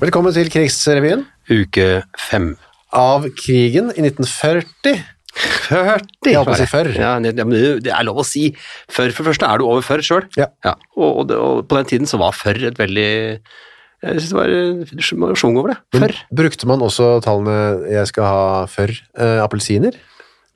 Velkommen til Krigsrevyen Uke fem. av krigen i 1940. 40! Jeg holdt på å si før. Ja, det, ja, men det det er lov å si. Før, for det første er du over før sjøl. Ja. Og, og, det- og på den tiden så var før et veldig Jeg syns det var eh, sjung over det. Før. Brukte man også tallene jeg skal ha før eh, appelsiner?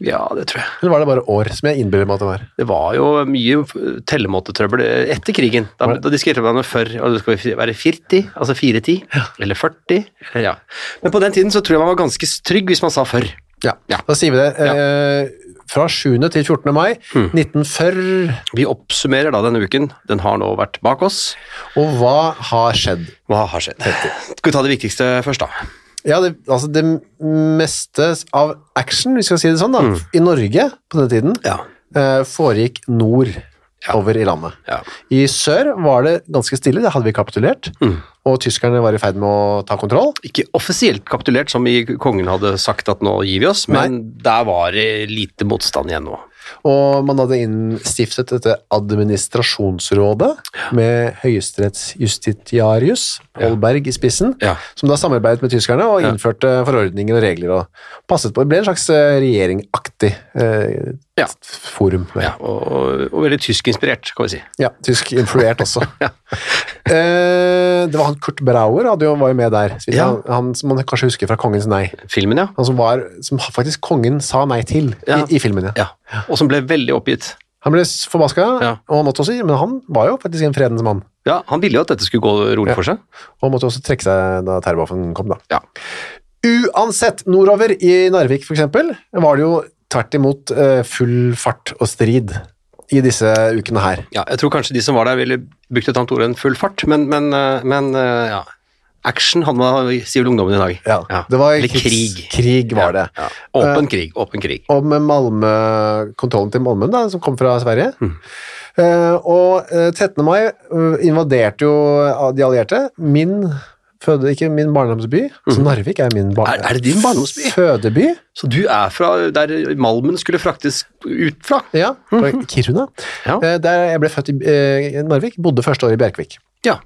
Ja, det tror jeg. Eller var det bare år som jeg innbiller meg at det var? Det var jo mye f- tellemåtetrøbbel eh, etter krigen. Da, Var det- da diskuterte man med før, og det skal fi- være 40, altså 410, eller 40. eller Ja. Men på den tiden så tror jeg man var ganske trygg hvis man sa før. Ja, Ja. Hmm. da sier vi det. Eh, fra 7. til 14. mai 1940. Vi oppsummerer da denne uken. Den har nå vært bak oss. Og hva har skjedd? Hva har skjedd? Skal vi ta det viktigste først, da? Ja, det, altså det meste av action, vi skal si det sånn da, i Norge på denne tiden, Hmm. Ja. eh, foregikk nord over i landet. Ja. I sør var det ganske stille, det hadde vi kapitulert, Mm. og tyskerne var i ferd med å ta kontroll. Ikke offisielt kapitulert, som i kongen hadde sagt at nå gir vi oss, men der var det lite motstand igjen nå. Og man hadde innstiftet dette administrasjonsrådet med høyesterettsjustitiarius, Holberg i spissen, Ja. som da samarbeidet med tyskerne og innførte forordninger og regler og passet på. Det ble en slags eh, regjeringaktig eh, Ja. forum. det. Ja, og, og, og veldig tyskinspirert, kan vi si. Ja, tysk influert også. eh, det var han Kurt Brauer hadde jo, var jo med der. så vidt Ja. Han, han som man kanskje husker fra Kongens nei. Filmen, ja. Han som, var, som faktisk kongen sa nei til Ja. i, i filmen. Ja. ja. Og som ble veldig oppgitt. Han ble s- forbaska, Ja. og måtte også, men han var jo faktisk en fredens mann. Ja, Han ville jo at dette skulle gå rolig for seg. Og måtte også trekke seg da terrorwaffen kom, da. Ja. Uansett, nordover i Narvik for eksempel, var det jo tvert imot eh, full fart og strid i disse ukene her. Ja, jeg tror kanskje de som var der, ville brukt et annet ord enn full fart, men, men, eh, men eh, ja. Action hadde man, sier vel ungdommen i dag. Ja, Det var Eller krigs- krig. Eh, krig var det. Ja. Åpen krig. Åpen krig. og med Malmø, kontrollen til Malmø, da, som kom fra Sverige. Mm. Eh, og eh, 13. mai eh, invaderte jo eh, de allierte min føde, ikke min barndomsby, så Narvik er min bar Mm. Er- er det din barndomsby? fødeby. Så du er fra der malmen skulle fraktes ut fra? Ja, fra Kiruna. Mm. Ja. Eh, der jeg ble født i eh, Narvik, bodde første året i Bjerkvik, Ja.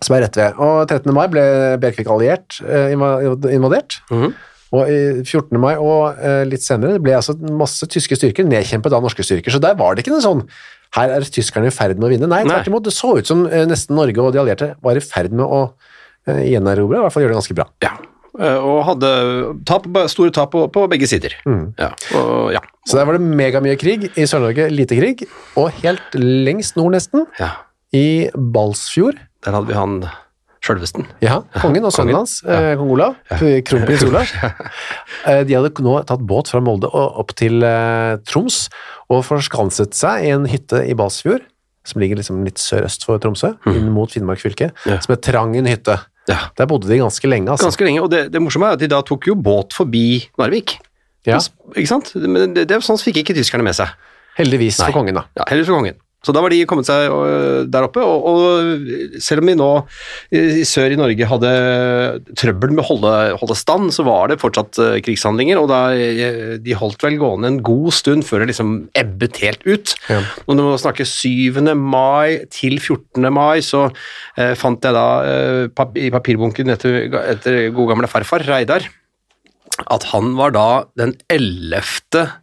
som er rett ved. Og 13. mai ble Bjerkvik alliert, eh, inva- invadert. Mhm. Og i 14. mai og eh, litt senere ble altså masse tyske styrker nedkjempet av norske styrker, så der var det ikke noe sånn her er tyskerne i ferd med å vinne. Nei, Nei. tvert imot. Det så ut som eh, nesten Norge og de allierte var i ferd med å eh, gjenerobre, i hvert fall gjøre det ganske bra. Ja, eh, og hadde tap, store tap på, på begge sider. Ja, og, ja. Mm. Så der var det megamye krig. I Sør-Norge lite krig, og helt lengst nord nesten, ja, i Balsfjord, der hadde vi han sjølvesten. ja, kongen og sønnen hans, eh, kong Olav, kronprins Olav, eh, de hadde nå tatt båt fra Molde og opp til eh, Troms, og forskanset seg i en hytte i Balsfjord, som ligger liksom litt sørøst for Tromsø, inn mot Finnmark fylke, Mm. Ja. som er Trangen hytte. Ja. Der bodde de ganske lenge, altså. Ganske lenge, og det, det morsomme er at de da tok jo båt forbi Narvik. Ja, Ikke sant? Men det, det, sånn fikk ikke tyskerne med seg. heldigvis Nei. for kongen da. Ja, Heller for kongen. Så da var de kommet seg øh, der oppe, og, og selv om vi nå i i sør i Norge hadde trøbbel med å holde, holde stand, så var det fortsatt øh, krigshandlinger, og da, øh, de holdt vel gående en god stund før det liksom ebbet helt ut. Ja. Og når man snakker 7. mai til 14. mai, så eh, fant jeg da eh, pap i papirbunken etter, etter god gamle farfar, Reidar, at han var da den 11.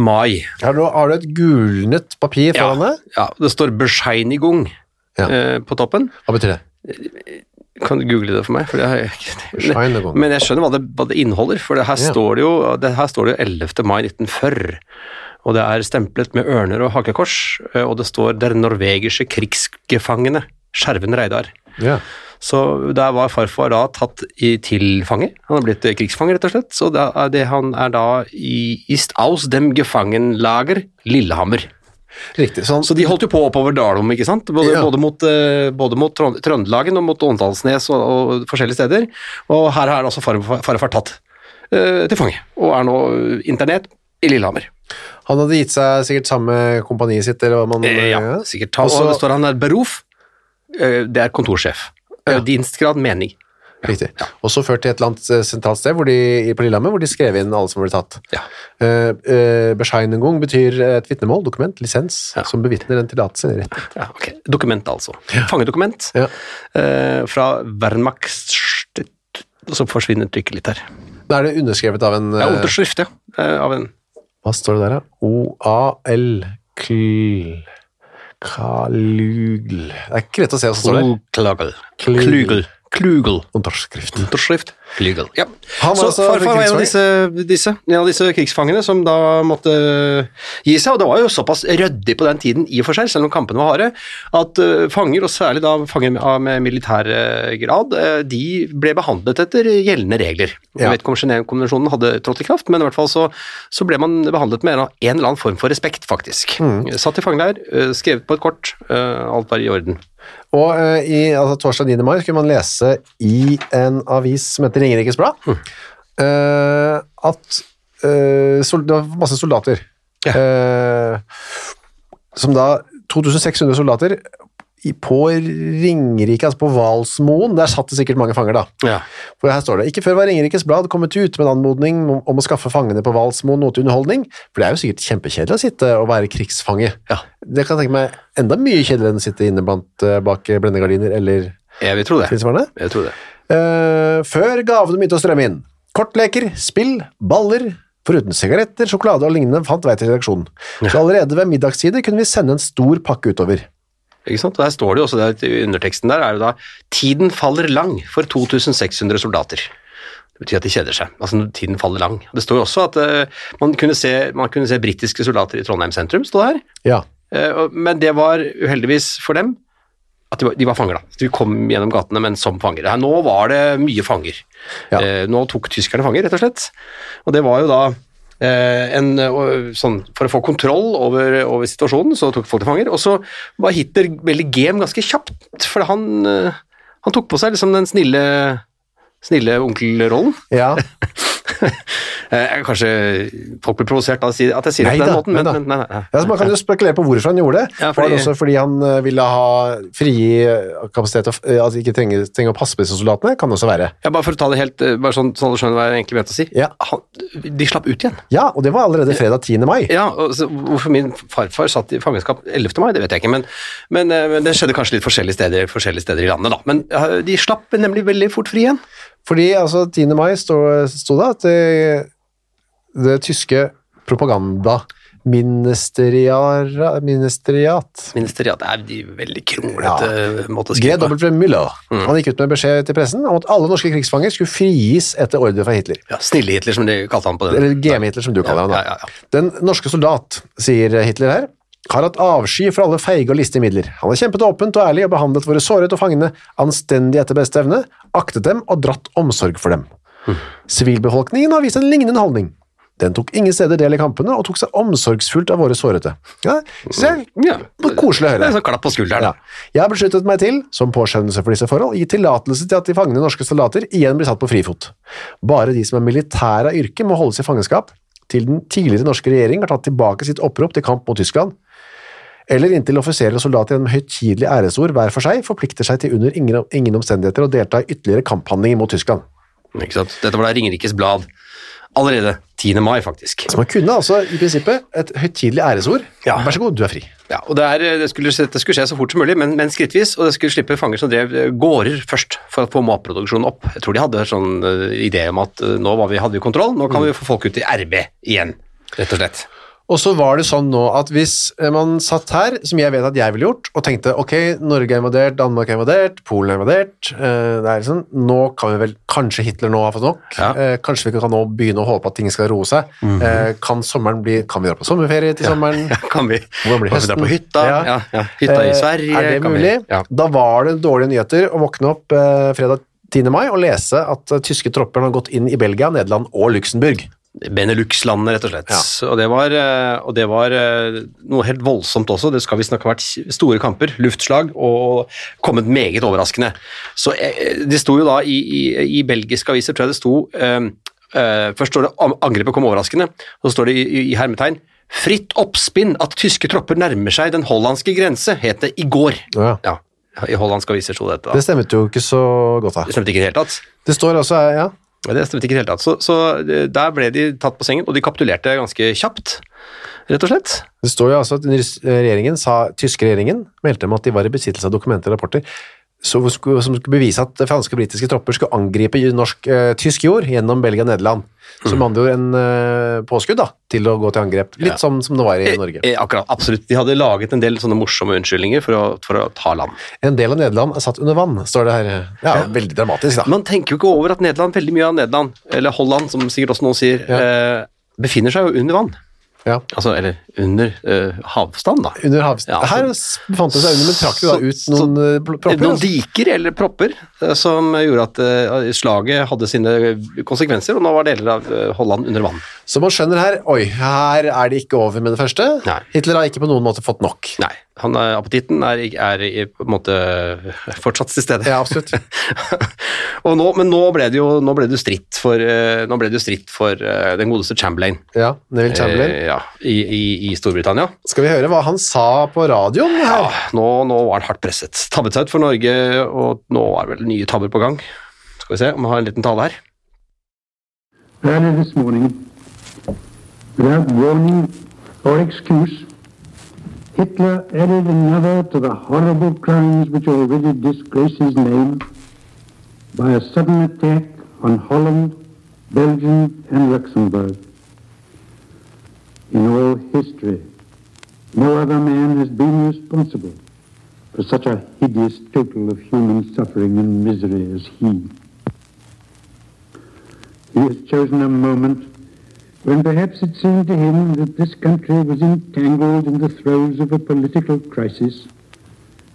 mai. Her nå har du et gulnet papir Ja. foran deg. Ja, det står Bescheinigung Ja. eh, på toppen. Hva betyr det? Kan du google det for meg? For det har jeg ikke... Bescheinigung. Men jeg skjønner hva det, hva det inneholder, for det her, Ja. står det jo, det her står det jo 11. mai 1940. Og det er stemplet med ørner og hakekors, eh, og det står 'Der norvegiske krigsgefangene', Skjerven Reidar. Ja. Så der var farfar da tatt i, til fange. Han er blitt eh, krigsfange, rett og slett. Så da er det, han er da i Ist aus dem Gefangenlager, Lillehammer. Riktig, sånn. Så de holdt jo på oppover Dalom, ikke sant? Både, Ja. både mot, eh, både mot Trond- Trøndelagen og mot Åndalsnes og, og forskjellige steder. Og her er altså farfar, farfar tatt. eh, til fange, og er nå eh, internert i Lillehammer. Han hadde gitt seg sikkert samme kompaniet sitt, eller hva man... Eh, ja, ja. sikkert. Ta, Og så- og det står han der Beruf, eh, det er kontorsjef. Eh, Ja. Ja. Dienstgrad menig. Riktig. Og så ført til et eller annet eh, sentralt sted hvor de, i- på Lillehammer hvor de skrev inn alle som ble tatt. Ja. Eh, eh, Bescheiningung betyr eh, et vitnemål, dokument, lisens, Ja. som bevitner en tillatelse. eller rett. Ja, ok. Dokument, altså. Fangedokument Ja. eh, fra Wernmacht Så forsvinner trykket litt her. Da er det underskrevet av en Det er eh, underskrift, ja. eh, Av en Hva står det der, da? O-A-L Kl... Kalugl Det er ikke lett å se hva sånn som står der. Klugel. Klugel. Klugel. Klugel. Underskrift. Underskrift. Klugel. Ja. Han var så altså farfar var en av disse, krigsfange? disse, en av disse krigsfangene som da måtte eh, gi seg, og det var jo såpass ryddig på den tiden i og for seg, selv om kampene var harde, at eh, fanger, og særlig da fanger med- av- med militær eh, grad, eh, de ble behandlet etter gjeldende regler. Ja. Jeg vet ikke om Genévekonvensjonen hadde trådt i kraft, men i hvert fall så, så ble man behandlet med en eller annen- en eller annen form for respekt, faktisk. Mm. Satt i fangeleir, eh, skrevet på et kort, eh, alt var i orden. Og eh, i, altså, torsdag 9. mai kunne man lese i en avis som heter Ringerikes Blad eh, at eh, sol, det var masse soldater. Ja. eh, som da 2600 soldater i, på Ringerike, altså på Valsmoen. Der satt det sikkert mange fanger, da. Ja. For her står det Ikke før var Ringerikes Blad kommet ut med en anmodning om om å skaffe fangene på Valsmoen noe til underholdning. For det er jo sikkert kjempekjedelig å sitte og være krigsfange. Ja. Det kan jeg tenke meg enda mye kjedeligere enn å sitte inne blant, eh, bak brennegardiner eller Jeg vil tro det. tilsvarende. Jeg tror det. Eh, før gavene begynte å strømme inn. Kortleker, spill, baller, foruten sigaretter, sjokolade og lignende, fant vei til redaksjonen. Så allerede ved middagstid kunne vi sende en stor pakke utover. Ikke sant? Og Der står det jo også, det er- underteksten der er jo da 'Tiden faller lang for 2600 soldater'. Det betyr at de kjeder seg. Altså, tiden faller lang. Det står jo også at eh, man kunne se, man kunne se britiske soldater i Trondheim sentrum, stod det her. Ja, Eh, og- men det var uheldigvis for dem at de var, de var fanger, da. Så De kom gjennom gatene, men som fanger. Her, nå var det mye fanger. Ja. Eh, nå tok tyskerne fanger, rett og slett. Og det var jo da eh, en, eh, sånn, For å få kontroll over, over situasjonen, så tok folk til fanger. Og så var Hitler veldig game ganske kjapt, for han, eh, han tok på seg liksom den snille, snille onkelrollen. ja. Eh, kanskje folk blir provosert av å si- at jeg sier det på Nei den da, måten, nei men, da. men nei, nei, nei. Ja, så Man kan jo spekulere på hvorfor han gjorde det. Ja, Var fordi- det også fordi han eh, ville ha frigi eh, kapasitet, og f- eh, at de ikke trenger, trenger å passe på disse soldatene? Kan det også være. Ja, bare for å ta det helt, eh, bare sånn, sånn at du skjønner hva jeg egentlig mente å si. Ja. Han, de slapp ut igjen. Ja, og det var allerede fredag 10. mai. Ja, og så, Hvorfor min farfar satt i fangenskap 11. mai, det vet jeg ikke, men, men, eh, men det skjedde kanskje litt forskjellige steder, forskjellige steder i landet, da. Men eh, de slapp nemlig veldig fort fri igjen. Fordi altså 10. mai sto, sto det at det, det tyske propaganda ministeriara- ministeriat Ministeriet det er de veldig kronglete eh, måte å skrive på. G.W. Müller Han gikk ut med beskjed til pressen om at alle norske krigsfanger skulle frigis etter ordre fra Hitler. Ja, Snille-Hitler, som de kalte han på den. Eller GM-Hitler, som du kaller han. da. Ja, ja, ja. Den norske soldat, sier Hitler her, har hatt avsky for alle feige og listige midler. Han har kjempet åpent og ærlig og behandlet våre såret og fangene anstendig etter beste evne, aktet dem og dratt omsorg for dem. Sivilbefolkningen har vist en lignende holdning. Den tok ingen steder del i kampene og tok seg omsorgsfullt av våre sårete. Ja, synes jeg Ja. var koselig å Det er en høre. sånn klapp på skulderen. Ja. Jeg har besluttet meg til, som påskjønnelse for disse forhold, å gi tillatelse til at de fangene norske soldater igjen blir satt på frifot. Bare de som er militære av yrke må holdes i fangenskap til den tidligere norske regjering har tatt tilbake sitt opprop til kamp mot Tyskland, eller inntil offiserer og soldater gjennom høytidelige æresord hver for seg forplikter seg til under ingen, ingen omstendigheter å delta i ytterligere kamphandlinger mot Tyskland. Ikke sant? Dette var da Ringerikes Blad. Allerede 10. mai, faktisk. Så man kunne altså i prinsippet et høytidelig æresord. Ja. Vær så god, du er fri. Ja, og det, er, eh, det, skulle, det skulle skje så fort som mulig, men, men skrittvis, og det skulle slippe fanger som drev eh, gårder først, for å få matproduksjonen opp. Jeg tror de hadde en sånn eh, idé om at eh, nå var vi, hadde vi kontroll, nå kan vi få folk ut i RB igjen, rett og slett. Og så var det sånn nå at hvis eh, man satt her, som jeg vet at jeg ville gjort, og tenkte ok, Norge er invadert, Danmark er invadert, Polen er invadert eh, det er liksom, Nå kan vi vel Kanskje Hitler nå har fått nok? Ja. Mhm. Eh, kanskje vi kan nå begynne å håpe at ting skal roe seg? eh, kan sommeren bli Kan vi dra på sommerferie til sommeren? Kan vi, Hvordan blir kan vi dra høsten? på hytta? Ja. Ja. Ja, Hytta i Eh, Sverige? Er det kan vi- mulig? ja. Da var det dårlige nyheter å våkne opp eh, fredag 10. mai og lese at eh, tyske tropper har gått inn i Belgia, Nederland og Luxembourg. Benelux-landene, rett og slett. Ja. Og, det var, eh, og det var eh, noe helt voldsomt også. Det skal vi snakke om vært store kamper, luftslag, og kommet meget overraskende. Så eh, det sto jo da i, i, i belgiske aviser, tror jeg det sto eh, eh, Først står det am- angrepet kom overraskende, og så står det i, i, i hermetegn Fritt oppspinn at tyske tropper nærmer seg den hollandske grense, het det i går. Ja. Ja, i hollandske aviser sto dette. da. Det stemmet jo ikke så godt da. Det stemte ikke i det hele tatt. Det står altså, ja, Ja, Det stemte ikke i det hele tatt. Så, så eh, der ble de tatt på sengen, og de kapitulerte ganske kjapt, rett og slett. det står jo altså at den rys- regjeringen sa, tyske regjeringen meldte om at de var i besittelse av dokumenter og rapporter så, som skulle bevise at franske og britiske tropper skulle angripe ju- norsk, eh, tysk jord gjennom Belgia og Nederland. Som med andre ord en eh, påskudd da, til å gå til angrep. Litt Mm. Ja. som, som det var i Norge. Eh, eh, Akkurat, absolutt. De hadde laget en del sånne morsomme unnskyldninger for å, for å ta land. En del av Nederland er satt under vann, står det her. Ja, veldig dramatisk da. Man tenker jo ikke over at Nederland, veldig mye av Nederland, eller Holland, som sikkert også noen sier, Ja. eh, befinner seg jo under vann. Ja. Altså, eller under eh, havstand, da. Under havs... Ja, altså- her befant det seg under, men trakk jo da Så- ut noen eh, pl- propper. Noen altså. diker eller propper eh, som gjorde at eh, slaget hadde sine konsekvenser, og nå var deler av eh, Holland under vann. Så man skjønner her, oi, her er det ikke over med det første. Nei. Hitler har ikke på noen måte fått nok. Nei, han, eh, appetitten er, ikke- er i, på en måte fortsatt til stede. Ja, absolutt. og nå, men nå ble det jo nå ble det jo stritt for, eh, nå ble det jo stritt for eh, den godeste Chamberlain, Ja, Neville Chamberlain. eh, ja, i, i, i Storbritannia. Skal vi høre hva han sa på radioen Ja, her? nå, nå var han hardt presset. Tabbet seg ut for Norge, og nå er vel nye tabber på gang. Skal vi se om vi har en liten tale her. Early this morning, without warning or excuse, Hitler added another to the horrible crimes which already disgrace his name by a sudden attack on Holland, Belgium, and Luxembourg. In all history, no other man has been responsible for such a hideous total of human suffering and misery as he. He has chosen a moment when perhaps it seemed to him that this country was entangled in the throes of a political crisis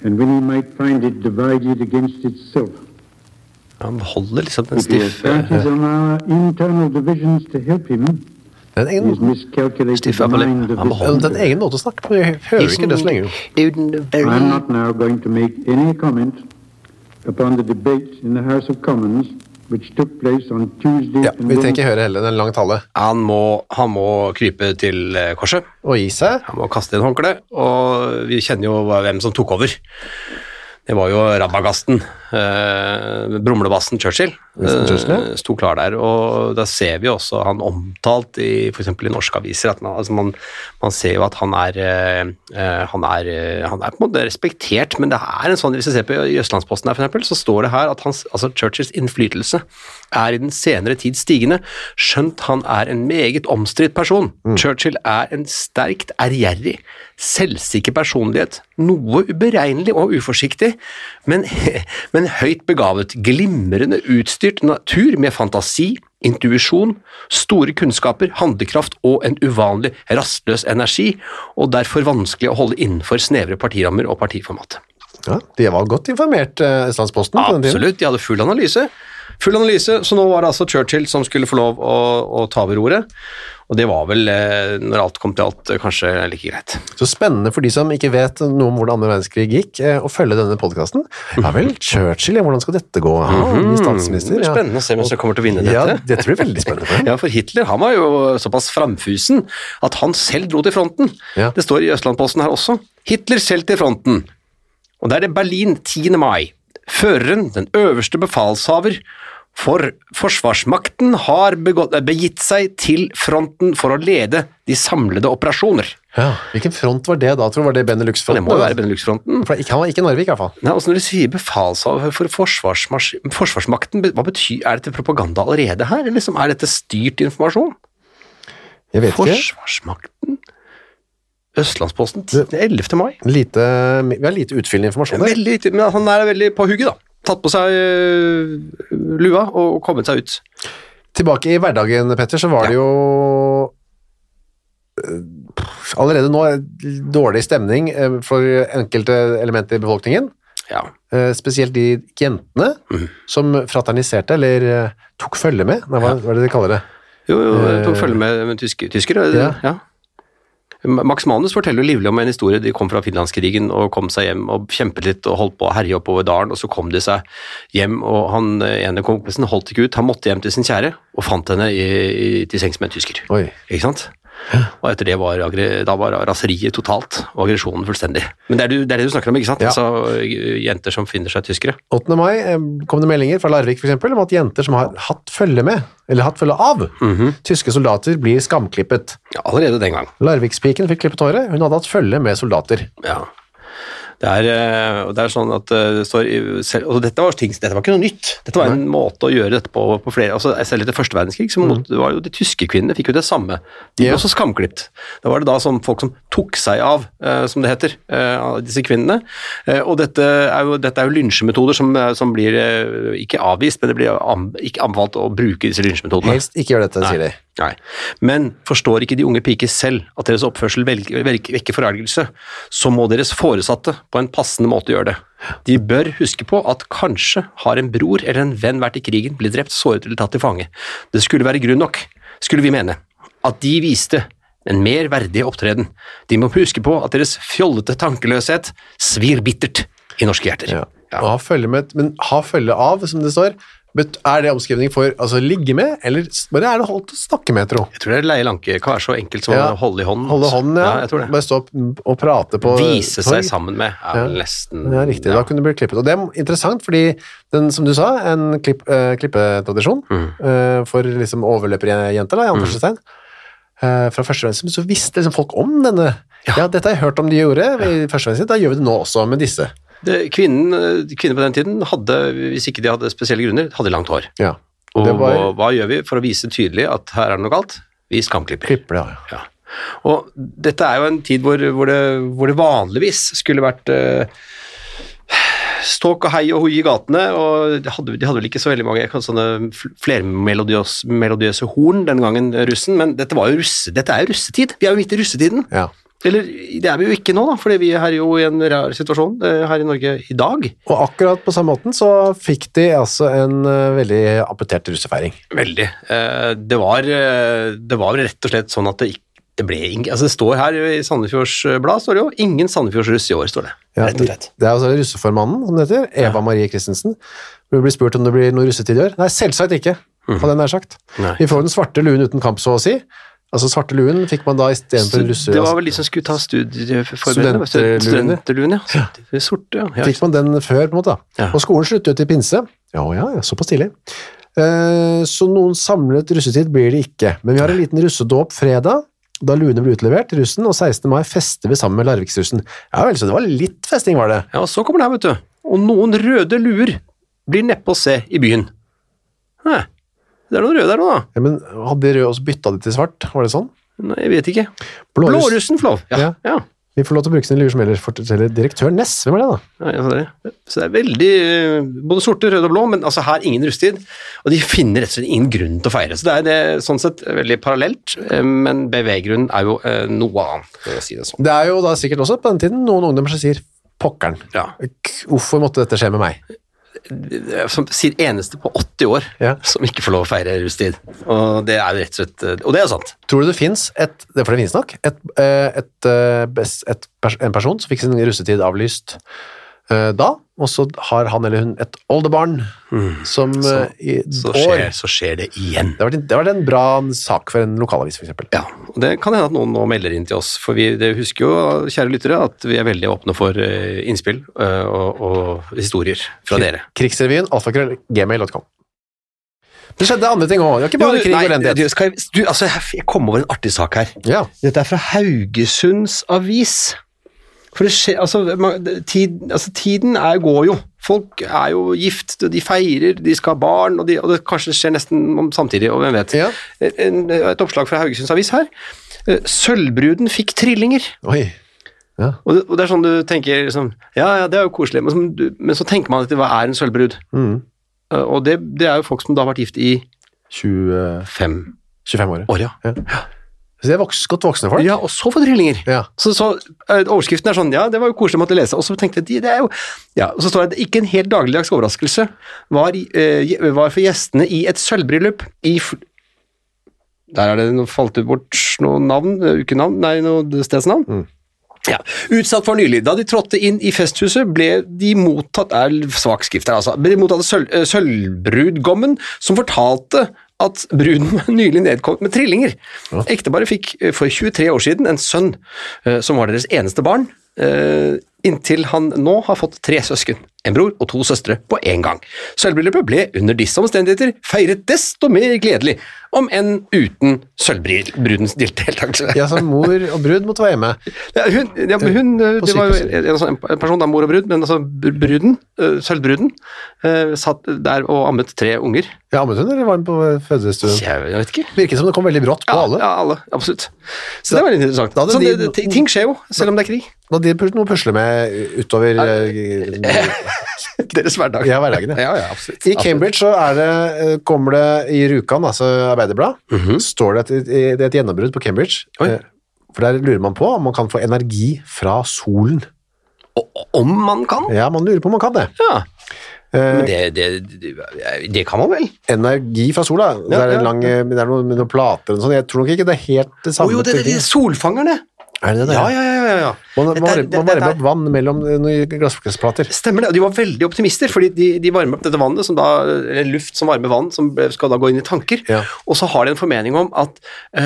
and when he might find it divided against itself. Han holder liksom den If he has stiffe, parties on our internal divisions to help him, Det er en he has egen, miscalculated Oh. Steve the Appelé, mind of I'm this det er en a country. egen måte å snakke på. Jeg hører ikke det så lenge. I'm not now going to make any comment upon the debate in the House of Commons which took place on Tuesday Ja, and vi trenger Wednesday. ikke høre heller, det er en lang tale. Han må, han må krype til eh, korset. Og gi seg. Han må kaste inn håndkle, og vi kjenner jo hva- hvem som tok over. Det var jo rabagasten, eh, brumlebassen Churchill. Winston Churchill, ja. eh, sto klar der, og da ser vi også han omtalt i f.eks. i norske aviser. At man, altså man, man ser jo at han er, eh, eh, han, er, eh, han er på en måte respektert, men det er en sånn Hvis vi ser på i Østlandsposten her, for eksempel, så står det her at hans, altså Churchills innflytelse er i den senere tid stigende, skjønt han er en meget omstridt person. Mm. Churchill er en sterkt ærgjerrig, selvsikker personlighet, noe uberegnelig og uforsiktig, men, men høyt begavet, glimrende utstyrt natur med fantasi, intuisjon, store kunnskaper, handlekraft og en uvanlig rastløs energi, og derfor vanskelig å holde innenfor snevre partirammer og partiformat. Ja, de var godt informert, eh, Østlandsposten. på den tiden. Absolutt, de hadde full analyse. Full analyse, Så nå var det altså Churchill som skulle få lov å, å ta over roret. Og det var vel, eh, når alt kom til alt, eh, kanskje like greit. Så spennende for de som ikke vet noe om hvordan andre verdenskrig gikk, eh, å følge denne podkasten. Mm. Ja vel, Churchill, ja, hvordan skal dette gå? Ja, ny statsminister. Det blir Ja. Mhm. spennende å se hvem som kommer til å vinne dette. ja, dette blir veldig spennende. for dem. Ja, for Hitler han var jo såpass framfusen at han selv dro til fronten. Ja. Det står i Østlandposten her også. Hitler selv til fronten. Og da er det Berlin 10. mai. Føreren, den øverste befalshaver for forsvarsmakten, har begått, eh, begitt seg til fronten for å lede de samlede operasjoner. Ja. Hvilken front var det da, tror du? Var det Det Benelux-fronten? må jo være Benelux-fronten. For det- ikke- Han var ikke i Narvik, i hvert fall. Nei, altså Når du sier befalshaver for forsvarsmars- forsvarsmakten, hva betyr, er dette propaganda allerede her? Eller liksom, er dette styrt informasjon? Jeg vet ikke. Forsvarsmakten? Østlandsposten 10. 11. mai. Lite, vi har lite utfyllende informasjon der. Veldig riktig, men altså, han er veldig på hugget, da. Tatt på seg øh, lua og kommet seg ut. Tilbake i hverdagen, Petter, så var det jo eh, allerede nå eh, dårlig stemning eh, for enkelte elementer i befolkningen. Ja. Eh, Spesielt de jentene som fraterniserte, eller eh, tok følge med. Nei, hva, hva er det de kaller det? Eh, Jo, jo, jeg tok følge med, med tysk, tyskere. Ja. Ja. Max Manus forteller jo livlig om en historie. De kom fra finlandskrigen og kom seg hjem og kjempet litt og holdt på å herje oppover dalen, og så kom de seg hjem, og han eh, ene kompisen holdt ikke ut. Han måtte hjem til sin kjære og fant henne i, i, til sengs med en tysker. Oi. Ikke sant? Og etter det var, aggre- da var raseriet totalt og aggresjonen fullstendig. Men det er, du, det er det du snakker om, ikke sant? Ja. Altså, jenter som finner seg tyskere. 8. mai eh, kom det meldinger fra Larvik for eksempel, om at jenter som har hatt følge med, eller hatt følge av, tyske soldater blir skamklippet. Ja, allerede den gang. Larvikspiken fikk klippet håret, hun hadde hatt følge med soldater. Ja. Det er, eh, og det er sånn at eh, det står i- selv, og dette var, ting, dette var ikke noe nytt. Dette var en måte å gjøre dette på, på flere altså Selv etter første verdenskrig så måtte, var jo de tyske kvinnene fikk jo det samme. De ble Ja. også skamklipt. Da var det da sånn folk som tok seg av, eh, som det heter, eh, av disse kvinnene. Eh, og dette er jo, dette er jo lynsjemetoder som, eh, som blir eh, ikke avvist, men det blir an, ikke anbefalt å bruke disse lynsjemetodene. Helst ikke gjør dette, sier de. Nei. Men forstår ikke de unge piker selv at deres oppførsel velg- velg- vekker forargelse, så må deres foresatte på en passende måte gjøre det. De bør huske på at kanskje har en bror eller en venn vært i krigen, blitt drept, såret eller tatt til fange. Det skulle være grunn nok, skulle vi mene, at de viste en mer verdig opptreden. De må huske på at deres fjollete tankeløshet svir bittert i norske hjerter. Ja. Og Ha følge med, men ha følge av, som det står, bet- er det omskrivning for altså, ligge med, eller s- bare er det holdt å snakke med, tro? Jeg tror det er leie lanke kan være så enkelt som Ja. å holde i hånden. Holde hånden, ja. jeg tror det. Bare stå opp og prate på Vise torg. seg sammen med er vel Ja. nesten Ja, riktig. Da kunne det bli klippet. Og det er interessant, fordi den, som du sa, en klipp, eh, klippetradisjon Mm. eh, for liksom overløperjenter, da, i anførselstegn, eh, fra første verdenskrig, så visste liksom folk om denne. Ja. dette har jeg hørt om de gjorde i første verdenskrig, da gjør vi det nå også med disse. Det, kvinnen, kvinner på den tiden hadde, hvis ikke de hadde spesielle grunner, hadde langt hår. Ja. Og Det var- hva, hva gjør vi for å vise tydelig at her er det noe galt? Vi skamklipper. Klipper det, ja. Ja. Og dette er jo en tid hvor, hvor, det, hvor det vanligvis skulle vært eh, ståk og hei og hoi i gatene, og de hadde, de hadde vel ikke så veldig mange kan- sånne fl- flermelodiøs- melodiøse horn den gangen, russen, men dette, var jo russe, dette er jo russetid. Vi er jo midt i russetiden. ja. Eller det er vi jo ikke nå, da, fordi vi er jo i en rar situasjon eh, her i Norge i dag. Og akkurat på samme måten så fikk de altså en eh, veldig appetert russefeiring. Veldig. Eh, Det var, eh, det var rett og slett sånn at det, ikk- det ble ingen altså Det står her i Sandefjords Blad står det jo 'ingen Sandefjordsruss i år'. står det. Ja, rett og slett. Det er altså russeformannen, som det heter, Eva Marie Christensen. Hun blir spurt om det blir noe russetid i år. Nei, selvsagt ikke, hadde jeg nær sagt. Mhm. Nei. Vi får den svarte luen uten kamp, så å si. Altså, svarte luen fikk man da Så istedenfor russe... det var vel de som skulle ta studieforberedende Studenterluene. Studenterluen, ja. Studenter- Sorte, ja. ja. Fikk man den før, på en måte. da. Ja. Og skolen slutter jo til pinse. Ja, ja, ja, såpass tidlig. Eh, Så noen samlet russetid blir det ikke. Men vi har en liten russedåp fredag, da luene ble utlevert til russen, og 16. mai fester vi sammen med Larviksrussen. Ja vel, så det var litt festing, var det. ja. Og så kommer det her, vet du. Og noen røde luer blir neppe å se i byen. Hæ. Det er noen røde der nå, da. Ja, men hadde de rød, og så bytta de til svart? Var det sånn? Nei, jeg vet ikke. Blåruss- Blårussen, Flov. Ja. Ja. ja. Vi får lov til å bruke sine luer som ellers, forteller direktør Ness. Hvem er det, da? Ja, jeg sa det. Så det er veldig eh, Både sorte, røde og blå, men altså her ingen rusttid. Og de finner rett og slett ingen grunn til å feire. Så det er det, sånn sett veldig parallelt, eh, men beveggrunnen er jo eh, noe annet, for å si det sånn. Det er jo da sikkert også på den tiden noen ungdommer som sier 'pokkeren'. Ja. K- Hvorfor måtte dette skje med meg? Det er Som sier eneste på 80 år Ja. som ikke får lov å feire rusttid. Og det er jo rett og slett eh, Og det er sant. Tror du det fins et det- For det finnes nok et, eh, et, eh, bes- et, pers- en person som fikk sin russetid avlyst eh, da, og så har han eller hun et oldebarn som eh, i Så skjer, år så skjer det igjen. det har, vært en, det har vært en bra sak for en lokalavis, f.eks. Ja, og Det kan hende at noen nå melder inn til oss, for vi det husker jo, kjære lyttere, at vi er veldig åpne for eh, innspill eh, og, og historier fra dere. Krigsrevyen, alfakrøll, gmail.com. Det skjedde andre ting òg. Det var ikke bare Jo, krig nei, og elendighet. du, skal jeg, du, altså, jeg- jeg kom over en artig sak her. Ja. Dette er fra Haugesunds Avis. For det skjer, altså, man- det- tid, altså Tiden er, går jo. Folk er jo gift, og de feirer, de skal ha barn, og, de, og det kanskje skjer nesten om samtidig, og hvem vet. Ja. En, et oppslag fra Haugesunds Avis her. Eh, Sølvbruden fikk trillinger. Oi. Ja. Og det, og det er sånn du tenker liksom, Ja, ja, det er jo koselig, men, som du- men så tenker man etter hva er en sølvbrud? Mm. Eh, Og det, det er jo folk som da har vært gift i 20, fem 25 år. år, ja. Så de er voks, godt voksne folk. Ja, og så få trillinger. Ja. Så, så eh, Overskriften er sånn Ja, det var jo koselig å måtte lese. Og så tenkte jeg de, det er jo ja, Og så står det ikke en helt dagligdags overraskelse var, i- eh, je- var for gjestene i et sølvbryllup i fl Der er det noe falt det bort først noe navn, eh, ukenavn, nei, noe stedsnavn. Ja. Utsatt for nylig. Da de trådte inn i festhuset, ble de mottatt er svak skrift her, altså. Ble de mottatt av sølv, eh, sølvbrudgommen, som fortalte at bruden var nylig nedkommet med trillinger. Ekteparet fikk eh, for 23 år siden en sønn eh, som var deres eneste barn, eh, inntil han nå har fått tre søsken, en bror og to søstre, på én gang. Sølvbryllupet ble under disse omstendigheter feiret desto mer gledelig, om enn uten sølvbrudens deltakelse. Ja, så mor og brud måtte være hjemme. Ja, hun, ja, men hun eh, det var jo sykehuset. en, en sånn person, da, mor og brud, men altså br- bruden, eh, sølvbruden, eh, satt der og ammet tre unger. Ja, ammet hun, eller var hun på fødestuen? Jeg, jeg vet ikke. Virket som det kom veldig brått på Ja, alle. ja, alle, absolutt. Så Da- det var litt interessant. da hadde Sånn, de- det, det, ting skjer jo, selv om det er krig. Da de pus- noe å pusle med utover eh, Deres hverdag. ja, hverdagen. ja. Ja, ja, absolutt. I Cambridge så er det, eh, kommer det i Rjukan, altså Arbeiderblad, står det at det er et gjennombrudd på Cambridge. Mhm. Oi. Eh, For der lurer man på om man kan få energi fra solen. Og- Om man kan. Ja, man lurer på om man kan det. Ja, Eh, men det, det, det, det kan man vel. energi fra sola, det, er ja, en lang, eh, det er noe med noen plater og sånn. Jeg tror nok ikke det er helt det Å samme. jo, det er de teorien. solfangerne. Er det det? Ja, ja, ja. ja, ja. Man, Dette man, er- varmer- man dette varmer er- opp vann mellom eh, noen glassplater. Stemmer det, og de var veldig optimister, fordi de, de varmer opp dette vannet, som da, eller luft som varmer vann, som skal da gå inn i tanker, Ja. og så har de en formening om at, eh,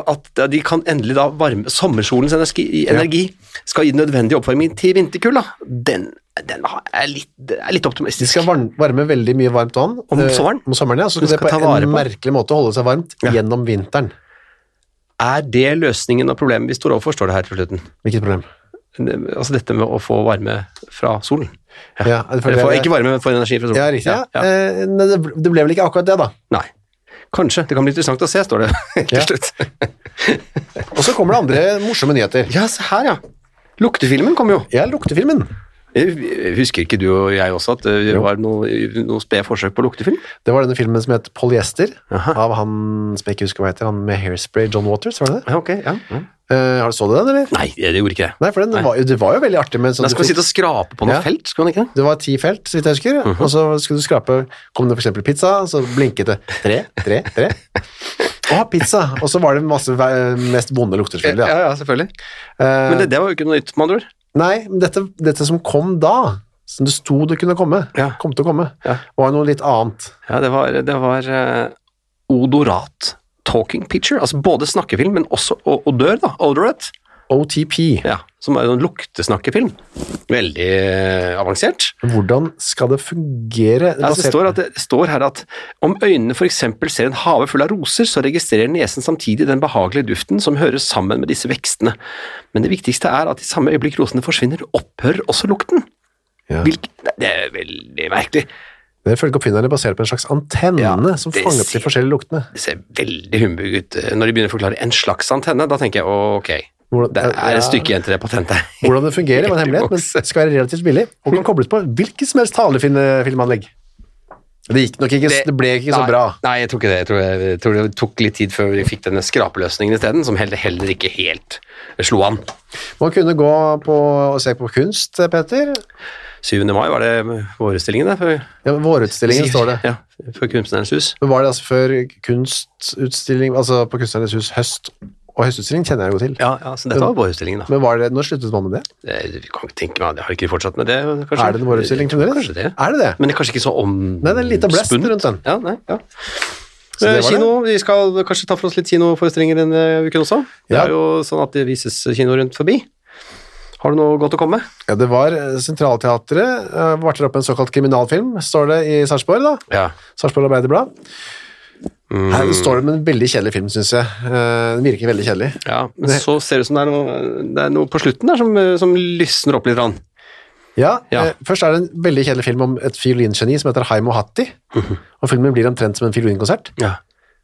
at de kan endelig da varme sommersolens energi, energi skal gi nødvendig oppvarming til vinterkulda. Den, den har- er, litt, det er litt De optimistisk. skal varm- varme veldig mye varmt vann Om eh, sommeren? Om sommeren ja, så Du skal det skal på ta en vare på det. merkelig måte holde seg varmt Ja. gjennom vinteren. Er det løsningen av problemet vi står overfor, står det her til slutten. Hvilket problem? Altså dette med å få varme fra solen. Ja, det føler Eller få, jeg- ikke varme, men få energi fra solen. Ja, riktig. Ja. Ja, ja. Eh, nei, det ble- det ble vel ikke akkurat det, da. Nei. Kanskje. Det kan bli interessant å se, står det Ja. til slutt. Og så kommer det andre morsomme nyheter. Ja, se her, ja. Luktefilmen kom jo. Ja, luktefilmen. Jeg Eh, Husker ikke du og jeg også at det var noe, noe sped forsøk på luktefilm? Det var denne filmen som het Polyester, Aha. av han som jeg ikke husker hva heter, han med hairspray, John Waters, var det det? Ja, ok, ja. Eh, har du så du den, eller? Nei, det gjorde ikke det. Nei, for den Var, jo- det var jo veldig artig. Men sånn, Da du skal fikk- vi sitte og skrape på noe Ja. felt, skal man ikke det? det var ti felt, så vidt jeg husker, Mhm. og så skulle du skrape, kom det for eksempel pizza, så blinket det tre, tre, tre. Å, pizza! Og så var det masse eh, mest vonde lukter, selvfølgelig. da. selvfølgelig. Eh, Men det, det var jo ikke noe nytt, med andre ord. Nei, men dette, dette som kom da, som det sto det kunne komme, Ja. kom til å komme, Ja. var noe litt annet. Ja, det var, det var eh, odorat. Talking picture, altså både snakkefilm, men også o- odør, da. Odorat. OTP. Ja, som er en luktesnakkefilm. Veldig eh, avansert. Hvordan skal det fungere? Ja, altså, basert- det, står at det det står her at om øynene f.eks. ser en hage full av roser, så registrerer nesen samtidig den behagelige duften som hører sammen med disse vekstene. Men det viktigste er at i samme øyeblikk rosene forsvinner, opphører også lukten. Ja. Hvilk- Nei, det er veldig merkelig. Det er ifølge oppfinnerne basert på en slags antenne som det fanger opp de sier- forskjellige luktene. Det ser veldig humbug ut eh, når de begynner å forklare en slags antenne. Da tenker jeg ok, Hvordan- det er ja. et stykke igjen til det patentet. Hvordan det fungerer, var en hemmelighet, men det skal være relativt billig, og kan kobles på hvilket som helst talefilmanlegg. Det gikk nok ikke, det, ble ikke så nei, bra. Nei, jeg tror ikke det. Jeg tror, jeg, tror det tok litt tid før vi fikk denne skrapeløsningen isteden, som heller, heller ikke helt slo an. Man kunne gå på, og se på kunst, eh, Peter. 7. mai var det vårestillingen, der, for- Ja, men vårutstillingen står det. Ja, for Kunstnerens hus. Men var det altså før kunstutstilling, altså på Kunstnernes hus høst og høstutstilling, kjenner jeg jo til. Ja, ja, så dette var vårutstillingen, da. Men var det, når sluttet man med det? Jeg kan ikke tenke meg, jeg har ikke fortsatt med det, kanskje. Er det en vårutstilling fremdeles? Kanskje det. Er det det? Men det er kanskje ikke så om... Nei, det er en liten blest spunnet. rundt den. Ja, nei, ja. Så det Eh, var det. Kino, vi skal kanskje ta for oss litt kinoforestillinger denne uken også. Det Ja. er jo sånn at det vises kino rundt forbi. Har du noe godt å komme med? Ja, det var eh, Sentralteatret, eh, varter opp en såkalt kriminalfilm, står det i Sarpsborg da. Ja. Sarpsborg Arbeiderblad. Mm. Her står det med en veldig kjedelig film, synes jeg. Eh, Den virker veldig kjedelig. men så ser det ut som det er noe, det er noe på slutten der som, som lysner opp litt. grann. Ja, Ja. eh, først er det en veldig kjedelig film om et fiolingeni som heter Haimo Hatti, Mhm. og filmen blir omtrent som en fiolinkonsert.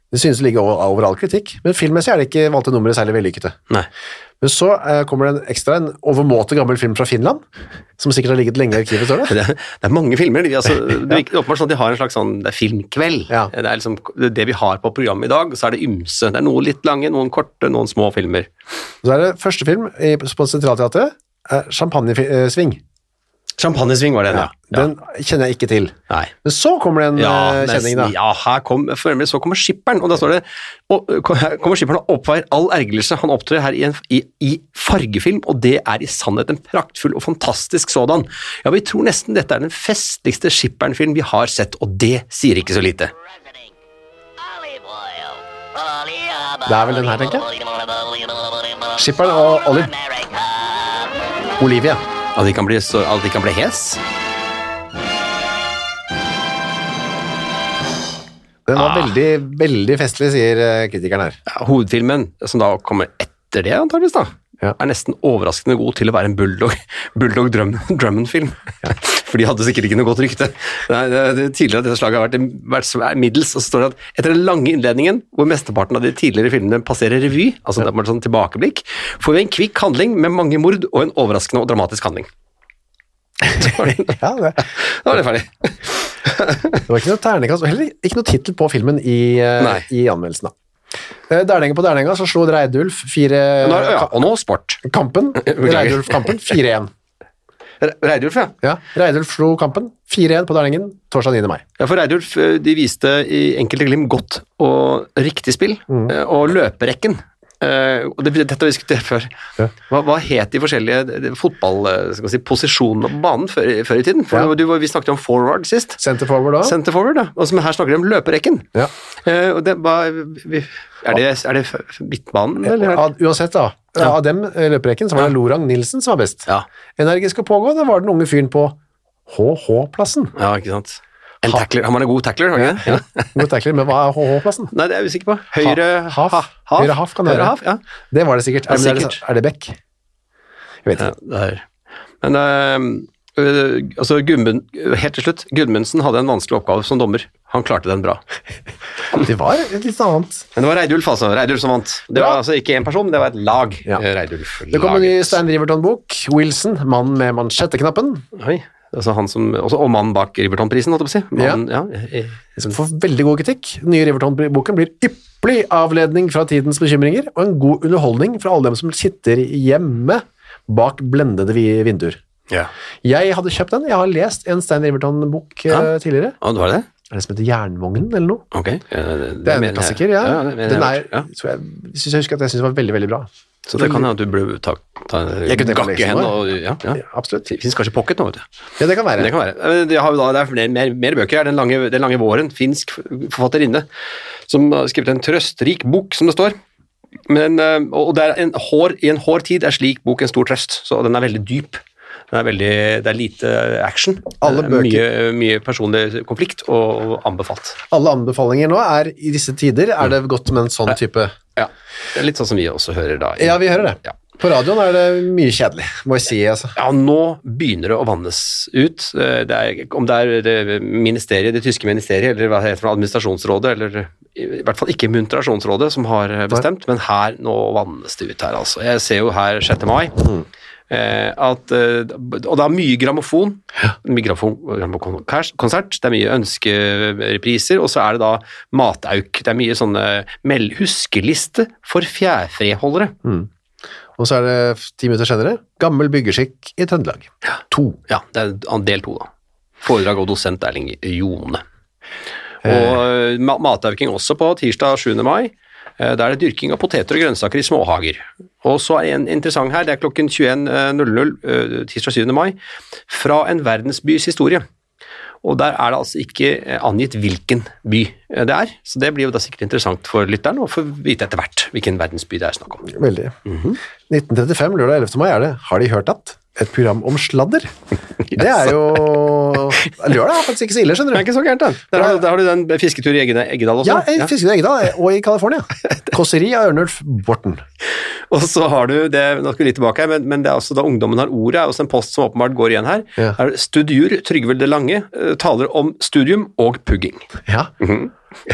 Det synes å ligge over, over all kritikk, men filmmessig er det ikke valgte numre særlig vellykkete. Nei. Men så eh, kommer det en ekstra, en overmåte gammel film fra Finland, som sikkert har ligget lenge i arkivet, står det. Det, det er mange filmer. De, altså, det er ikke åpenbart sånn at de har en slags sånn, det er filmkveld. Ja. Det er liksom det, er det vi har på programmet i dag, så er det ymse. Det er noen litt lange, noen korte, noen små filmer. Så er det første film i, på Sentralteatret, er Champagnesving. Champagnesving var det ene. Ja, den kjenner jeg ikke til. Nei. Men så kommer det en Ja, eh, nesten, kjenning, da. ja, her kom, for øvrig så kommer skipperen, og da står det og, eh, kom- her kommer skipperen og oppveier all ergrelse. Han opptrer her i, en, i, i fargefilm, og det er i sannhet en praktfull og fantastisk sådan. Ja, vi tror nesten dette er den festligste skipperen-film vi har sett, og det sier ikke så lite. Det er vel den her, tenker jeg. Skipperen og Olive. Olivia. At de kan bli, så, at de kan bli hes? Den var Ah. veldig, veldig festlig, sier eh, kritikeren her. Ja, hovedfilmen, som da kommer etter det, antageligvis da, Ja. er nesten overraskende god til å være en bulldog, bulldog drum, Drummond-film. For de hadde sikkert ikke noe godt rykte. Nei, det, det, tidligere av dette slaget har vært, vært svæ- middels, og så står det at etter den lange innledningen, hvor mesteparten av de tidligere filmene passerer revy, altså det er bare sånn tilbakeblikk, får vi en kvikk handling med mange mord og en overraskende og dramatisk handling. Så var det- Ja, det, Da var det ferdig. det var ikke noe terningkast, og heller ikke noe tittel på filmen i, eh, Nei. i anmeldelsen. da. Eh, Derninga på derninga så slo Reidulf fire Nå er, det- ja, og nå sport. Kampen. Beklager. Reidulf Kampen 4-1. Re- Reidulf, ja. Ja, Reidulf slo Kampen 4-1 på Derningen torsdag 9. mai. Ja, for Reidulf eh, de viste i enkelte glimt godt og riktig spill, Mm. eh, og løperekken. Eh, og det, dette har vi diskutert før. Ja. Hva, hva het de forskjellige fotballposisjonene eh, si, posisjonene på banen før, før i tiden? For Ja. du, var- Vi snakket om forward sist. Center forward da. Center forward, da. Og som her snakker de om løperekken. Ja. Eh, og det, hva, vi, er, det, er det f- midtbanen, eller? Ja, uansett, da. Av dem eh, løperekken så var det Lorang Nilsen som var best. Ja. Energisk og pågående var den unge fyren på HH-plassen. ja, ikke sant. En tackler. Han var en god tackler, var han ikke? det? Ja. God tackler, Men hva er HH-plassen? Nei, det er jeg usikker på. Høyre Ha- haf. Høyre haf kan det være. haf, ja. Det var det sikkert. Ja, Er, er, det, sikkert. er det Beck? Jeg vet Ja, ikke. det er. Men eh, øh, altså Gudmund, helt til slutt, Gudmundsen hadde en vanskelig oppgave som dommer. Han klarte den bra. Det var et litt annet. Men det var Reidulf altså, Reidulf som vant. Det var Bra. altså ikke én person, det var et lag. Ja. eh, Reidulf. Det kom en ny laget. Stein Riverton-bok. 'Wilson, mannen med mansjetteknappen'. Oi, altså han som, også, Og mannen bak Riverton-prisen, holdt jeg på å si. Mannen, ja. eh, eh, Som får veldig god kritikk. Den nye Riverton-boken blir ypperlig avledning fra tidens bekymringer, og en god underholdning fra alle dem som sitter hjemme bak blendede vi- vinduer. Jeg hadde kjøpt den. Jeg har lest en Stein Riverton-bok eh, Ja. tidligere. Å, det var det? Er det som heter Jernvognen, eller noe? Ok. Eh, det, Det er en mener jeg- klassiker, ja. det mener Den er, jeg. ja. tror jeg, synes jeg husker at jeg synes den var veldig, veldig bra. Så det kan hende at du burde ta, ta Jeg kunne tenkt meg å lese gakke den hen nå. og ja, ja. Ja, absolutt. Det fins kanskje pocket nå, vet du. Ja, det kan være. Det kan være. Eh, Det, har jo da, det er flere, mer, mer bøker her. Den lange, den lange våren, finsk forfatterinne, som har skrevet en trøstrik bok, som det står. Men, eh, og og det er en hår, i en hård tid er slik bok en stor trøst, så den er veldig dyp. Den er veldig, det er lite action. Alle Det er bøker- Mye, mye personlig konflikt og anbefalt. Alle anbefalinger nå er, i disse tider, er det godt med en sånn type... Mm. Ja. Det er litt sånn som vi også hører da. i- Ja, vi hører det. Ja. På radioen er det mye kjedelig, må jeg si, altså. Ja, nå begynner det å vannes ut. Eh, Det er, om det er det ministeriet, det tyske ministeriet, eller hva heter det, administrasjonsrådet, eller i hvert fall ikke muntrasjonsrådet som har eh, bestemt, men her, nå vannes det ut her, altså. Jeg ser jo her 6. mai. eh, At, eh, og det er mye grammofon, mye grammofon, grammofon- konsert, det er mye ønskerepriser, og så er det da matauk. Det er mye sånne meld, huskeliste for fjærfreholdere. Og så er det f- ti minutter senere, gammel byggeskikk i Trøndelag. To. Ja, det er del to, da. Foredrag og dosent Erling Jone. Eh. Og ma- matauking også på tirsdag 7. mai. Eh, Da er det dyrking av poteter og grønnsaker i småhager. Og så er en interessant her, det er klokken 21.00 eh, tirsdag 7. mai, fra en verdensbys historie. Og der er det altså ikke eh, angitt hvilken by eh, det er, så det blir jo da sikkert interessant for lytteren å få vite etter hvert hvilken verdensby det er snakk om. Veldig. 1935, Mhm. lørdag 11. mai, er det Har de hørt at? Et program om sladder. Det er jo Lørdag er faktisk ikke så ille, skjønner Det er du. ikke så gærent, da. Der har du, der har du den fisketur i Eggen- Eggedal også. Ja, da. jeg fisket i Eggedal og i California. Kåseri av Ørnulf Borten. Og så har du det, nå skal vi litt tilbake her, men, men det er også da ungdommen har ordet, er også en post som åpenbart går igjen her. Ja. Her er det Studiur Trygve det Lange eh, taler om studium og pugging. Ja.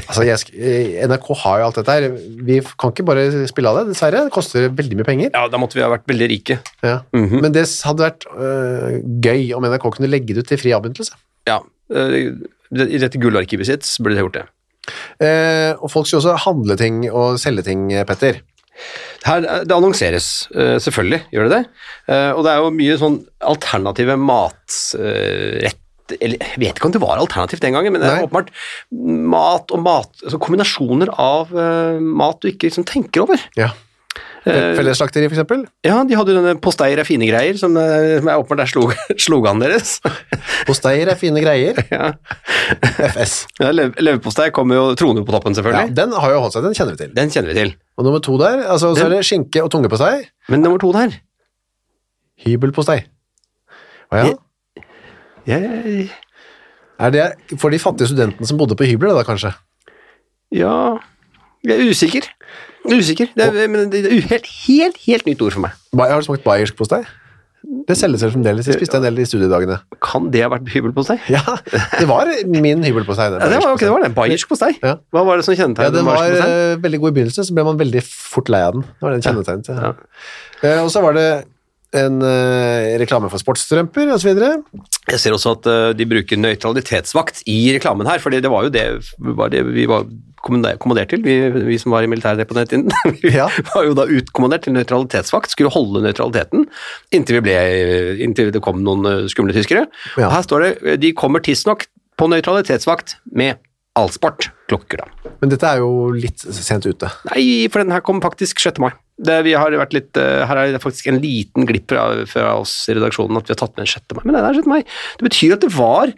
Altså, jeg, sk- eh, NRK har jo alt dette her. Vi f- kan ikke bare spille av det, dessverre. Det koster veldig mye penger. Ja, da måtte vi ha vært veldig rike. Ja. Mhm. Men det s- hadde vært øh, gøy om NRK kunne legge det ut til fri avbegynnelse. Ja, eh, det- i dette gullarkivet sitt så burde de ha gjort det. Eh, og folk skal jo også handle ting og selge ting, eh, Petter. Her, eh, det annonseres, eh, selvfølgelig gjør det det. Eh, Og det er jo mye sånn alternative matrett eller, Jeg vet ikke om det var alternativt den gangen, men det er Nei. åpenbart mat og mat altså Kombinasjoner av eh, mat du ikke liksom tenker over. Ja. Eh. Fellesslakteri, for eksempel. Ja, de hadde jo denne postei er fine greier, som, eh, som er åpenbart er slog- sloganen deres. Posteier er fine greier. ja. FS. Ja, lev- Leverpostei kommer jo troner på toppen, Ja, selvfølgelig. den har jo holdt seg, den kjenner vi til. Den kjenner vi til. Og nummer to der, altså, så er det skinke og tungepostei. Men nummer to der Hybelpostei. Å ja. jeg, Er det for de fattige studentene som bodde på hybler, det da kanskje? Ja Jeg er usikker. Usikker. Det er, men det er u- helt, helt, helt nytt ord for meg. Ba- Har du smakt bayersk postei? Det selges vel fremdeles. Jeg spiste en del i studiedagene. Kan det ha vært hybelpostei? Ja, det var min hybelpostei. den Ja, det var jo ikke det, var det. Bayersk postei. Ja. Hva var det som Ja, kjennetegnet den var bayersk postei? eh, veldig god i begynnelsen, så ble man veldig fort lei av den. Det var den kjennetegnet. Ja. Ja. Eh, og så var det en eh, reklame for sportsstrømper og så videre. Jeg ser også at eh, de bruker nøytralitetsvakt i reklamen her, for det var jo det, var det vi var kommande- kommandert til, vi, vi som var i militæret på den tiden. Vi Ja. var jo da utkommandert til nøytralitetsvakt, skulle holde nøytraliteten inntil, vi ble, inntil det kom noen eh, skumle tyskere. Ja. Og her står det eh, de kommer tidsnok på nøytralitetsvakt med allsport klokker, da. Men dette er jo litt sent ute. Nei, for den her kom faktisk 6. mai. Det, vi har vært litt, eh, her er det faktisk en liten glipp fra, fra oss i redaksjonen at vi har tatt med en 6. mai, men den er 6. mai. Det betyr at det var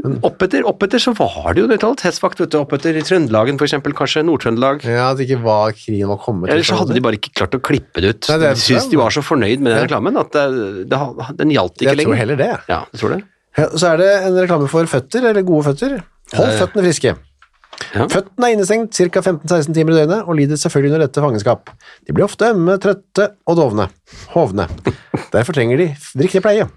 Mm. Oppetter opp etter så var det jo nøytralitetsvakt, vet du. Oppetter i Trøndelagen f.eks., kanskje Nord-Trøndelag. Ja, at det ikke var krigen var kommet. til. Eller så hadde de bare ikke klart å klippe det ut. Nei, det er de syntes de var så fornøyd med den reklamen at det, det, den gjaldt ikke Jeg lenger. tror heller det. Ja, du tror det? Ja, og så er det en reklame for føtter, eller gode føtter. Hold føttene friske. Ja. Føttene er innestengt ca. 15-16 timer i døgnet og lider selvfølgelig under dette fangenskap. De blir ofte ømme, trøtte og dovne. Hovne. Derfor trenger de riktig pleie.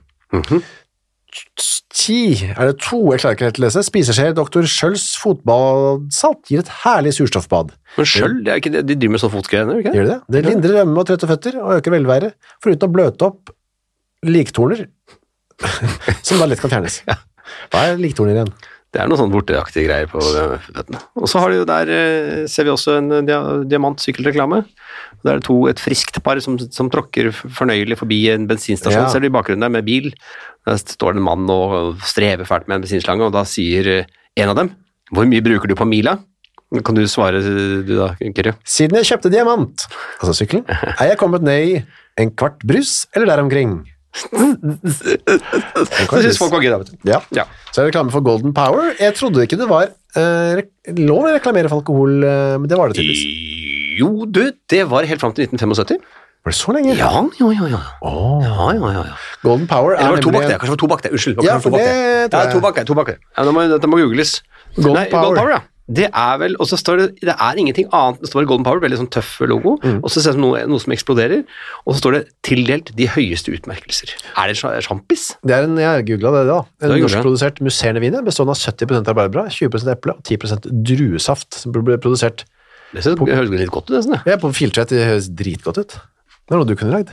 Ti, er det to, jeg klarer ikke helt å lese, spiseskjeer Dr. Schjølls fotbadsalt gir et herlig surstoffbad. Men skjøll, det er ikke det. De driver med sånn fotgreier, gjør de ikke? Gjør det det? Det lindrer ømme og trøtte føtter og øker velvære, foruten å bløte opp liktorner, som da lett kan fjernes. Hva er liktorner igjen? Det er noe sånn vorteaktige greier på eh, føttene. Og så har de jo der, eh, ser vi også en eh, dia- diamantsykkelreklame. Der er det to, et friskt par som, som tråkker f- fornøyelig forbi en Ja. bensinstasjon. Ser du i bakgrunnen der med bil. Der står det en mann og strever fælt med en bensinslange, og da sier eh, en av dem, hvor mye bruker du på mila? Kan du svare eh, du da, Kyrre? Siden jeg kjøpte diamant, altså sykkelen, er jeg kommet ned i en kvart brus eller der omkring. Det synes folk var gøy da, vet du. Ja. Ja. Så er det reklame for Golden Power. Jeg trodde ikke det var eh, rek- lov å reklamere for alkohol, eh, men det var det tydeligvis. Jo, du, det var helt fram til 1975. Var det så lenge? Ja, ja, ja, ja. Åh. Ja, ja, ja, ja. Golden Power Eller er var det tobakk, det? nemlig Kanskje det var tobakk, det? Unnskyld. det var Ja, kanskje for tobakk, det tror Ja, jeg. tobakk, det. Tobakk, det. Ja, det må, dette må googles. Golden Nei, Power. Golden Power, ja. Det er vel, og så står det, det er ingenting annet, det står Golden Power, veldig sånn tøff logo, Mm. og så ser det ut som noe, noe som eksploderer, og så står det tildelt de høyeste utmerkelser. Er det sj- sjampis? det er en, jeg googlet det da. En Det gjorde jeg. norskprodusert musserende vin bestående av 70 arbeiderbra, 20 eple og 10 druesaft, som ble produsert Det synes, jeg høres litt godt ut, nesten. det. Jeg er på filtret, det høres dritgodt ut. Det er noe du kunne lagd.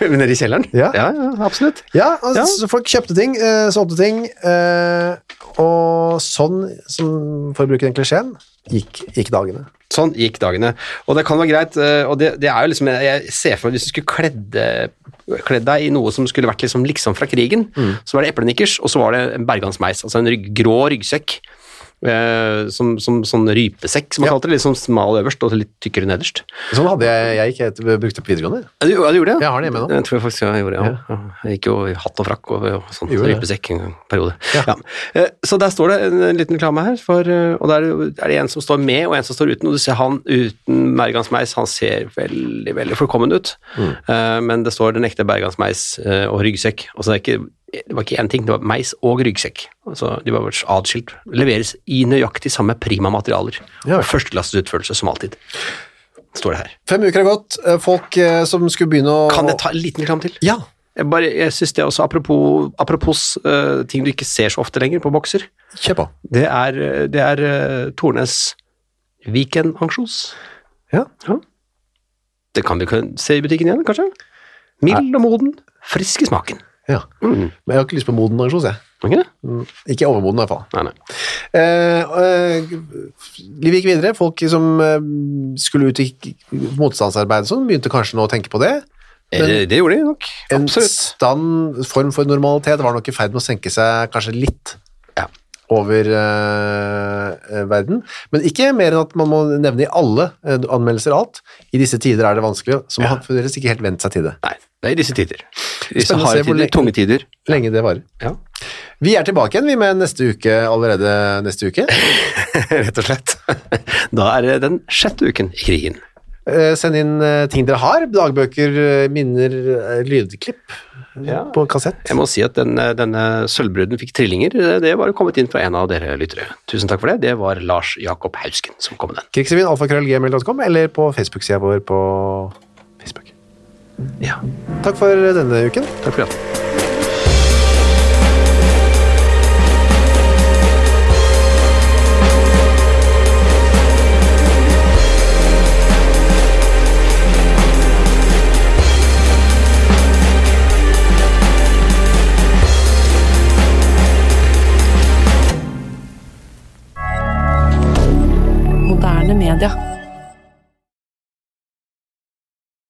Nede i kjelleren? Ja. ja, ja absolutt. Ja, altså, Ja. så folk kjøpte ting, eh, solgte ting, eh, og sånn, som, for å bruke den klisjeen, gikk, gikk dagene. Sånn gikk dagene. Og det kan være greit, eh, og det, det er jo liksom, jeg ser for meg hvis du skulle kledde, kledd deg i noe som skulle vært liksom, liksom fra krigen, så var det eplenikkers, og så var det en bergansmeis, altså en rygg, grå ryggsekk, eh, som, som sånn rypesekk, som man Ja. kalte det, litt sånn smal øverst og litt tykkere nederst. Sånn hadde jeg, jeg gikk etter, brukte på videregående. Ja, du, ja, du gjorde det? Jeg har det hjemme nå. Jeg tror jeg faktisk jeg gjorde det, ja. Jeg gikk jo i hatt og frakk og, og sånn Gjorde det. rypesekk en periode. Ja. Ja. Eh, Så der står det en en liten reklame her, for, eh, og der er det en som står med og en som står uten, og du ser han uten bergansmeis, han ser veldig, veldig forkommen ut, Mm. Eh, men det står den ekte bergansmeis eh, og ryggsekk, og så det er ikke det var ikke én ting, det var meis og ryggsekk. Altså, de var adskilt. Leveres i nøyaktig samme prima materialer. Ja. Og Førsteklasses utførelse som alltid. Står det her. Fem uker har gått, eh, folk eh, som skulle begynne å... Kan jeg ta en liten reklame til? Ja, Jeg, bare, jeg synes det er også, apropos, apropos eh, ting du ikke ser så ofte lenger på bokser, kjør på. det er, eh, det er eh, Tornes weekend-ansjos. Ja. Det kan vi kun se i butikken igjen, kanskje? Mild og moden, frisk i smaken. Ja. Men jeg har ikke lyst på moden aksjon, jeg. Var det ikke det? Ikke overmoden, i hvert fall. Nei, nei. Eh, eh, livet gikk videre. Folk som eh, skulle ut i k- motstandsarbeid, og sånn, begynte kanskje nå å tenke på det. Eh, det gjorde de nok. En Absolutt. stand, form for normalitet var nok i ferd med å senke seg kanskje litt Ja. over eh, eh, verden. Men ikke mer enn at man må nevne i alle eh, anmeldelser alt. I disse tider er det vanskelig, så man har fremdeles ikke helt vent seg til det. Nei, det er i disse tider. Disse Spennende å harde se hvor tider, lenge- tunge tider. Lenge det varer. Ja. Vi er tilbake igjen, vi, med neste uke allerede neste uke. Rett og slett. Da er det den sjette uken i krigen. Eh, Send inn eh, ting dere har. Dagbøker, eh, minner, eh, lydklipp på kassett. Jeg må si at den, eh, denne sølvbruden fikk trillinger. Eh, Det var kommet inn fra en av dere lyttere. Tusen takk for det. Det var Lars Jakob Hausken som kom med den. Krigsrevyen, alfakrøllgmail.com, eller på Facebook-sida vår på Facebook. Ja, Takk for eh, denne uken. takk for det.